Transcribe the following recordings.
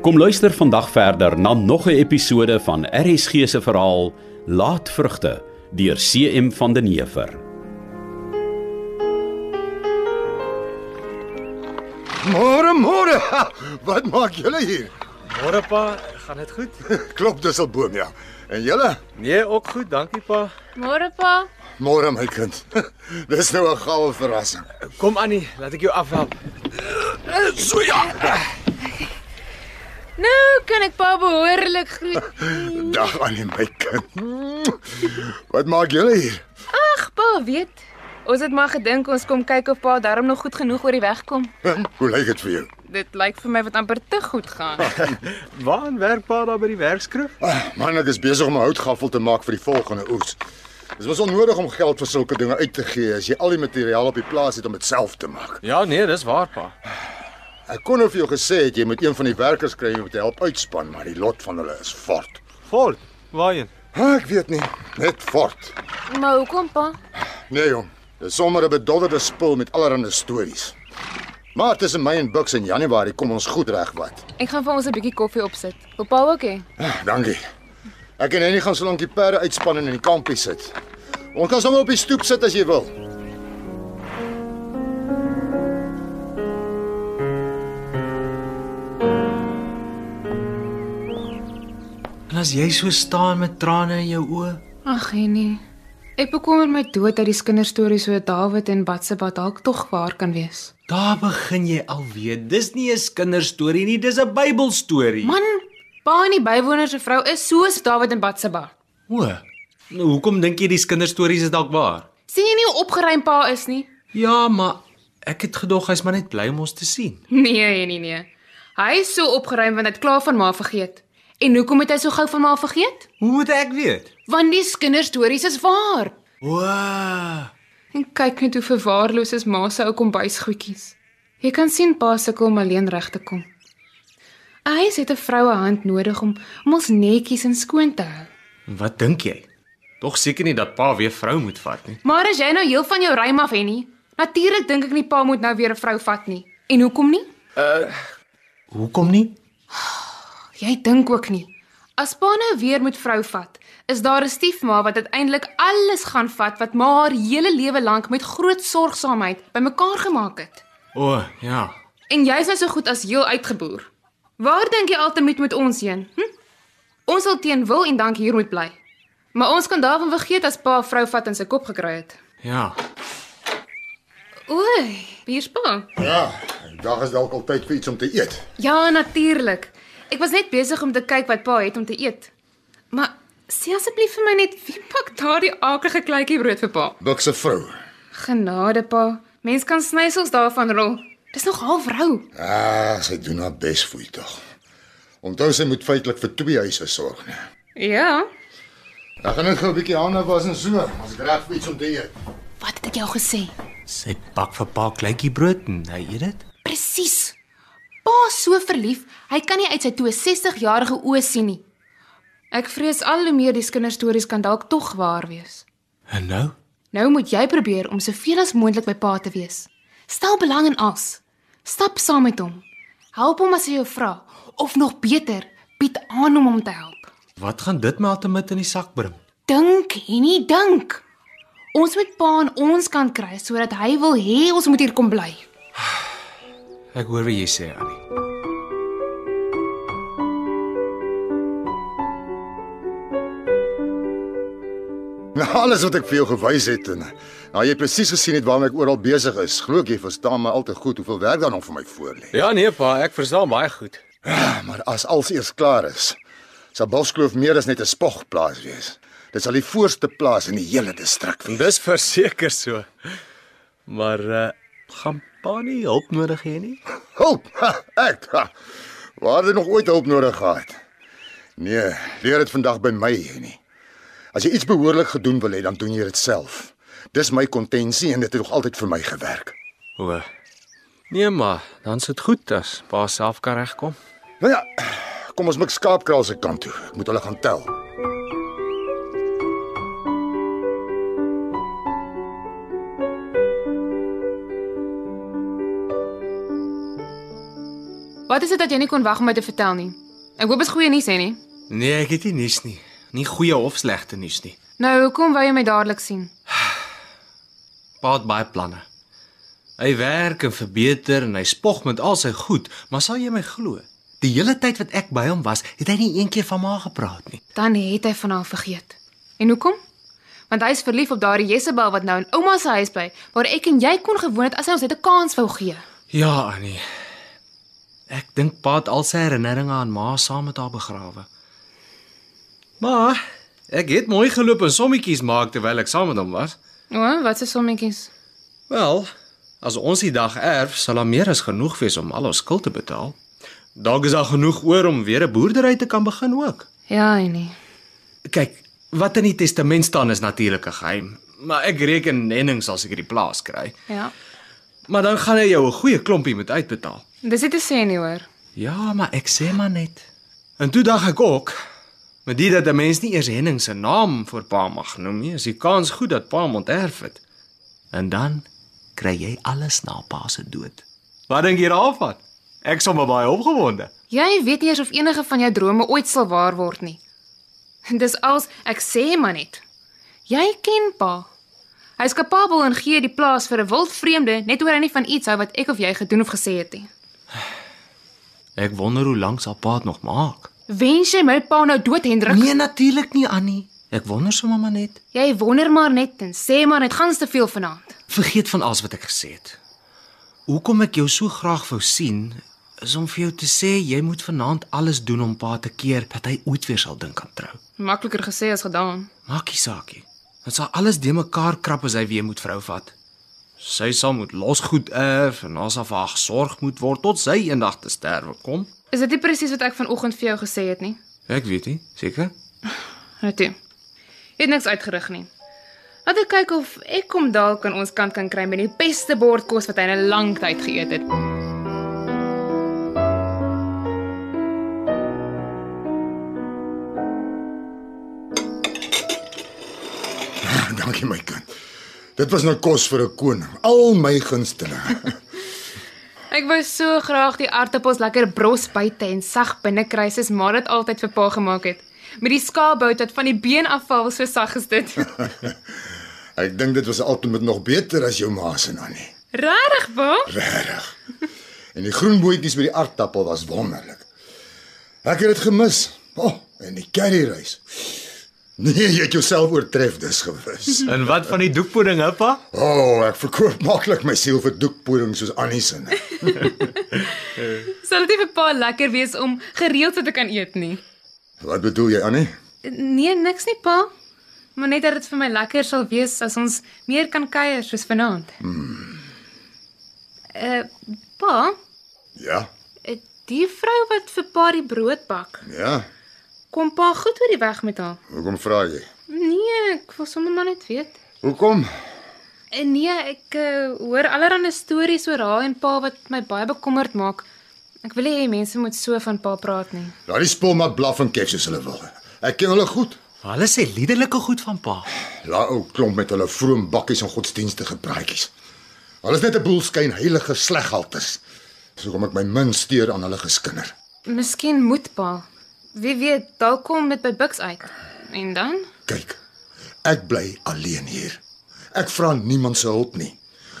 Kom luister vandag verder na nog 'n episode van RSG se verhaal Laatvrugte deur CM van den Heever. Môre, môre. Ha, Wat maak julle hier? Môre pa, gaan dit goed? Klop dis al boom ja. En julle? Nee, ook goed, dankie pa. Môre pa. Môre my kind. Dis nou 'n goue verrassing. Kom Annie, laat ek jou afhelp. So ja. Nou kan ek pa behoorlik groet. Dag aan my kind. Wat maak julle hier? Ag, pa weet. Ons het maar gedink ons kom kyk of pa darm nog goed genoeg oor die weg kom. Hoe lyk dit vir jou? Dit lyk vir my wat amper te goed gaan. Waar werk pa daar by die werkskrif? Ah, Man, ek is besig om 'n houtgaffel te maak vir die volgende oes. Dit was onnodig om geld vir sulke dinge uit te gee as jy al die materiaal op die plaas het om dit self te maak. Ja, nee, dis waar pa. Ek kon nou vir jou gesê het jy moet een van die werkers kry om te help uitspan, maar die lot van hulle is fort. Vol. Waarheen? Ah, ek weet nie, net fort. Maar hoekom pa? Nee jong, dis sommer 'n bedodderde spul met allerlei stories. Maar tussen my en Bucks in Januarie kom ons goed reg wat. Ek gaan vir ons 'n bietjie koffie opsit. Wil pa ook hê? Ah, Dankie. Ek en Annie gaan solank die perde uitspan en in die kampie sit. Ons kan sommer op die stoep sit as jy wil. En as jy so staan met trane in jou oë, Ag nee. Ek bekommer my dood dat die kinderstories oor Dawid en Batseba dalk tog waar kan wees. daar begin jy alweer. Dis nie 'n kinderstorie nie, dis 'n Bybelstorie. Man, pa en die bywoner se vrou is soos Dawid en Batseba. o. Nou hoekom dink jy die kinderstories is dalk waar? Sien jy nie hoe opgeruim pa is nie? Ja, maar ek het gedog hy's maar net bly om ons te sien. Nee, nee, nee. Hy is so opgeruim want hy het klaar van ma vergeet. En hoekom het hy so gou van ma vergeet? Hoe moet ek weet? Want die kinderstories is waar. O. En kyk net hoe verwaarloos is ma se ou kombuisgoedjies. Jy kan sien pa sukkel om alleen reg te kom. Hy sê 'n vroue hand nodig om om ons netjies en skoon te hou. En wat dink jy? Tog seker nie dat pa weer vrou moet vat nie. Maar as jy nou heel van jou rym af hennie, natuurlik dink ek nie pa moet nou weer 'n vrou vat nie. En hoekom nie? Hoekom nie? Jy dink ook nie. As pa nou weer moet vrou vat, is daar 'n stiefma wat uiteindelik alles gaan vat wat ma haar hele lewe lank met groot sorgsaamheid bymekaar gemaak het. O, ja. En jy's nou so goed as heel uitgeboer. Waar dink jy altyd met ons heen? Hm? Ons sal teen wil en dank hier moet bly. Maar ons kan daarvan vergeet as pa 'n vrou vat in sy kop gekry het. Ja. Oei, hier's pa. Ja, dag is dalk al tyd vir iets om te eet. Ja, natuurlik. Ek was net besig om te kyk wat pa het om te eet. Maar sê asseblief vir my net wie pak daardie akelige kleutjie brood vir pa? Bucks se vrou. Genade pa. Mens kan snysels daarvan rol. Dis nog half rou. Ah, sy doen haar bes vir jou tog. Onthou sy moet feitelik vir twee huise sorg. nee. Ja. Ek gaan net gou 'n bietjie hande was en so. Ons het reg vir iets om te eet. Wat het ek jou gesê? Sy bak vir pa kleutjie brood en hy eet dit. Presies. Pa is so verlief, hy kan nie uit sy 62-jarige oë sien nie. Ek vrees al hoe meer die kinderstories kan dalk tog waar wees. En nou? Nou moet jy probeer om soveel as moontlik by pa te wees. Stel belang in as. Stap saam met hom. Help hom as hy jou vra of nog beter, bied aan om hom te help. Wat gaan dit my altemit in die sak bring? Dink en nie dink. Ons moet pa aan ons kant kry sodat hy wil hê ons moet hier kom bly. Ek hoor wat jy sê, Annie. Na Ja, alles wat ek vir jou gewys het en nou jy het presies gesien het waarmee ek oral besig is. Glo ek jy verstaan my al te goed hoeveel werk daar nog vir my voor lê. Ja nee pa, ek verstaan baie goed. Maar as alles eers klaar is, sal Boskloof meer as net 'n spogplaas wees. Dit sal die voorste plaas in die hele distrik wees. Dis verseker so. Maar uh gaan pa nie hulp nodig hê nie? Hulp. Ha, ek. Ha. Waar het nog ooit hulp nodig gehad? Nee, leer dit vandag by my hier nie. As jy iets behoorlik gedoen wil hê, dan doen jy dit self. Dis my kontensie en dit het nog altyd vir my gewerk. O. Nee maar, dan's dit goed as pa self kan regkom. Nou ja, kom ons mik skaapkraal se kant toe. Ek moet hulle gaan tel. Wat is dit dat jy nie kon wag om my te vertel nie? Ek hoop dit is goeie nuus hè nie. Nee, ek het nie nuus nie. Nie goeie of slegte nuus nie. Nou, hoekom wou jy my dadelik sien? Pa het baie planne. Hy werk en verbeter en hy spog met al sy goed, maar sal jy my glo? Die hele tyd wat ek by hom was, het hy nie een keer van ma gepraat nie. Dan het hy van haar vergeet. En hoekom? Want hy is verlief op daardie Jezebel wat nou in ouma se huis bly, waar ek en jy kon gewoon het as hy ons net 'n kans wou gee. Ja, Annie. Ek dink pa het al sy herinneringe aan ma saam met haar begrawe. Maar ek het mooi geloop en sommetjies maak terwyl ek saam met hom was. O, wat se sommetjies? Wel, as ons die dag erf, sal daar meer as genoeg wees om al ons skuld te betaal. Dalk is daar genoeg oor om weer 'n boerdery te kan begin ook. Ja, nee. Kyk, wat in die testament staan is natuurlik 'n geheim, maar ek reken Nenning sal seker die plaas kry. Ja. Maar dan gaan hy jou 'n goeie klompie moet uitbetaal. Dis dit te sê nie hoor. Ja, maar ek sê maar net. En toe dink ek ook, met dit dat 'n mens nie eers Henning se naam vir pa mag noem nie, is die kans goed dat pa hom onterf het. En dan kry jy alles na pa se dood. Wat dink jy daarvan? Ek sommer baie opgewonde. Jy weet nie eers of enige van jou drome ooit sal waar word nie. Dis als ek sê maar net. Jy ken pa. Hy's kapabel en gee die plaas vir 'n wild vreemde net oor hy nie van iets hou wat ek of jy gedoen of gesê het nie. Ek wonder hoe lank sal pa dit nog maak. Wens jy my pa nou dood, Hendrik? Nee, natuurlik nie, Annie. Ek wonder sommer maar net. Jy wonder maar net en sê maar net gans te veel vanaand. Vergeet van alles wat ek gesê het. Hoekom ek jou so graag wou sien, is om vir jou te sê jy moet vanaand alles doen om pa te keer dat hy ooit weer sal dink aan trou. Makliker gesê as gedaan. Maak nie saak nie. Dit sal alles de mekaar krap as hy weer moet vrou vat. Sy sal moet losgoed erf en ons sal vir haar gesorg moet word tot sy eendag te sterwe kom. Is dit nie presies wat ek vanoggend vir jou gesê het nie? Ek weet nie, seker? Nou toe. Jy het niks uitgerig nie. Laat ek kyk of ek kom dalk aan ons kant kan kry met die beste bordkos wat hy in 'n lang tyd geëet het. Dankie my kind. Dit was nou kos vir 'n koning, al my gunstelinge. Ek wou so graag die aartappels lekker bros buite en sag binnekry soos maar dit altyd vir pa gemaak het. Met die skaapbout wat van die been afval so sag is dit. Ek dink dit was altyd nog beter as jou ma se nou nannie. Regtig, pa? Regtig. En die groen bootjies by die aardappel was wonderlik. Ek het dit gemis. O, oh, en die curryrys. Nee, jy het jouself oortref dis gewis. En wat van die doekpudding, hè, pa? O, oh, ek verkoop maklik my siel vir doekpoeding soos Annie se. Sal dit nie vir pa lekker wees om gereeld so te kan eet nie? Wat bedoel jy, Annie? Nee, niks nie, pa. Maar net dat dit vir my lekker sal wees as ons meer kan kuier soos vanaand. Mm. Uh, pa, Ja. eh, die vrou wat vir pa die brood bak, Ja. kom pa goed oor die weg met haar? Hoekom vra jy? Nee, ek wil sommer maar net weet. Hoekom? Eh, Nee, ek uh, hoor allerlei stories oor haar en pa wat my baie bekommerd maak. Ek wil nie hê mense moet so van pa praat nie. Laat die spul maar blaf en kef soos hulle wil. Ek ken hulle goed. Maar hulle sê liderlike goed van pa. Laat ou klomp met hulle vroom bakkies en godsdienstige praatjies. Hulle is net 'n boel skyn heilige sleghalters. So kom ek my min steur aan hulle geskinder. Miskien moet pa. Wie weet, dalk kom dit by Bux uit. En dan? Kyk. Ek bly alleen hier. Ek vra niemand se hulp nie.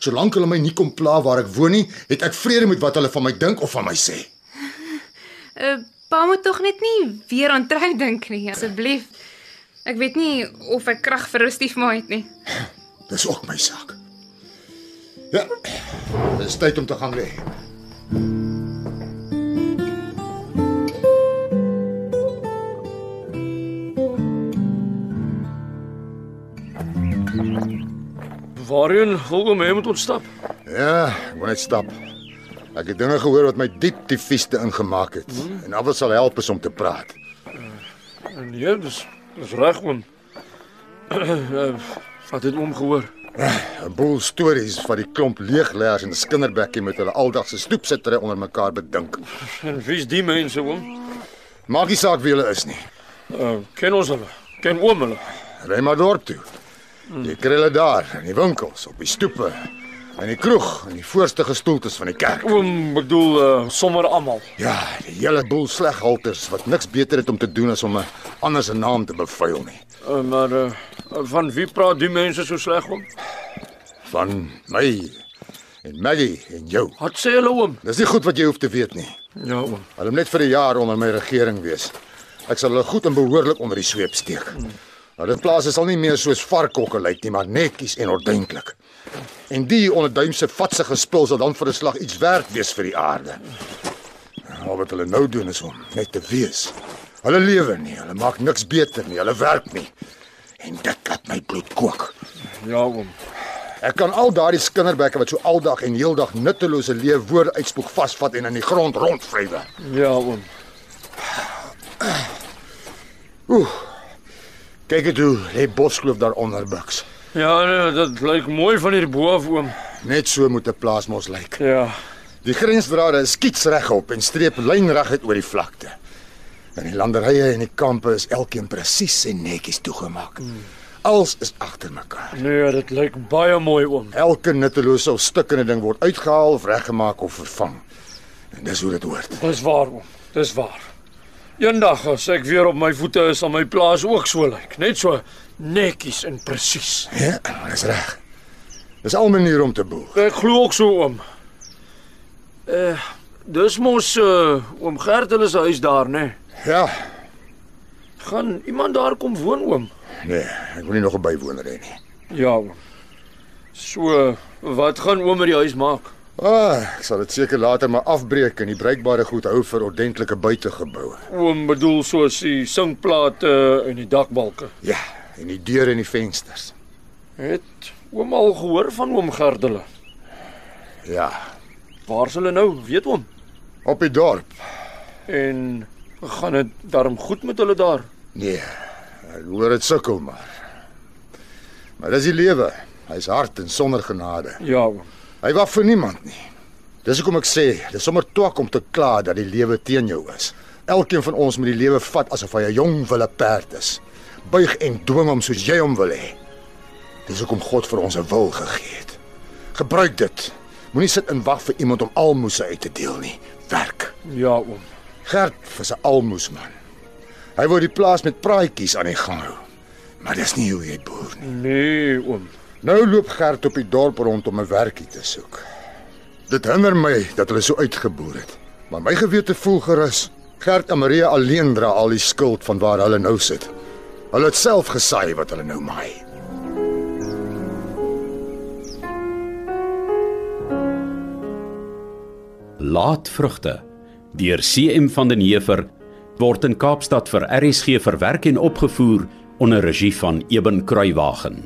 Solank hulle my nie kom pla waar ek woon nie, het ek vrede met wat hulle van my dink of van my sê. Uh, pa moet tog net nie weer aan trou dink nie, asseblief. Ek weet nie of ek krag vir rustief maar het nie. Dis ook my saak. Ja. Dis tyd om te gaan lê. Waarheen wil hom hê moet ons stap? Ja, ek moet net stap. Ek het dinge gehoor wat my diep die vieste ingemaak het. Hmm. En af wat sal help is om te praat. Nee, dis dis reg oom. Eh, Wat het oom gehoor? 'n boel stories van die klomp leegleers en skinderbekkie met hulle aldagse stoepsittery onder mekaar bedink. En wie's die mense oom? Maak nie saak wie hulle is nie. Uh, ken ons hulle? Ken oom hulle? Ry maar dorp toe. Jy kry hulle daar in die winkels, op die stoepe, in die kroeg, in die voorste gestoeltes van die kerk. Oom bedoel uh, sommer almal. Ja, die hele boel sleghalters wat niks beter het om te doen as om 'n ander se naam te bevuil nie. Uh, maar uh, van wie praat die mense so sleg om? Van my en Maggie en jou. Wat sê hulle oom? Dis nie goed wat jy hoef te weet nie. Ja oom. Hulle moet net vir 'n jaar onder my regering wees. Ek sal hulle goed en behoorlik onder die sweep steek. Nou, Hulle plase sal nie meer soos varkkokke lyk nie, maar netjies en ordentlik. En die onderduimse vatse gespul sal dan vir 'n slag iets werd wees vir die aarde. Al wat hulle nou doen is om net te wees. Hulle lewe nie, hulle maak niks beter nie, hulle werk nie. En dit laat my bloed kook. Ja oom. Ek kan al daardie skinderbekke wat so aldag en heeldag nuttelose leeuwoorde uitspoeg vasvat en in die grond rondvrywe. Ja oom. Kyk dit hoe lê Boskloof daaronder buks. Ja, nee, dit lyk mooi van hier bo af oom. Net so moet 'n plaas mos lyk. Ja. Die grensdrade is skietsregop en streep lynreguit oor die vlakte. En die landerye en die kampe is elkeen presies en netjies toegemaak. Alles is agter mekaar. Nee, dit lyk baie mooi oom. Elke nuttelose of stukkende ding word uitgehaal of reggemaak of vervang. En dis hoe dit hoort. Dis waar oom. Dis waar. Eendag as ek weer op my voete is, sal my plaas ook so lyk, net so netjies en presies. Ja, dis reg. Dis al 'n manier om te boer. Ek glo ook so oom. Eh, dis mos uh, oom Gert hulle se huis daar, né? Nee. Ja. Gaan iemand daar kom woon oom? Nee, ek wil nie nog 'n bywoner hê nie. Ja oom. So, wat gaan oom met die huis maak? Ah, ek sal dit seker later maar afbreek en die bruikbare goed hou vir ordentlike buitegeboue. Oom bedoel soos die sinkplate en die dakbalke. Ja, en die deure en die vensters. Het oom al gehoor van oom Gert hulle? Ja, Waar is hulle nou? Weet oom? op die dorp. En gaan dit darm goed met hulle daar? Nee, ek hoor dit sukkel maar. Maar dis die lewe. Hy's hard en sonder genade. Ja oom. Hy wag vir niemand nie. Dis hoekom ek sê, dis sommer twak om te kla dat die lewe teen jou is. Elkeen van ons moet die lewe vat asof hy 'n jong wilde perd is. Buig en dwing hom soos jy hom wil hê. Dis hoekom God vir ons 'n wil gegee het. Gebruik dit. Moenie sit en wag vir iemand om almoses uit te deel nie. Werk. Ja oom. Gert is 'n almoesman. Hy wou die plaas met praatjies aan die gang hou. Maar dis nie hoe jy boer nie. Nee oom. Nou loop Gert op die dorp rond om 'n werkie te soek. Dit hinder my dat hulle so uitgeboer het. Maar my gewete voel gerus. Gert en Maria alleen dra al die skuld van waar hulle nou sit. Hulle het self gesaai wat hulle nou maai. Laatvrugte deur CM van den Heever word in Kaapstad vir RSG verwerk en opgevoer onder regie van Eben Kruiwagen.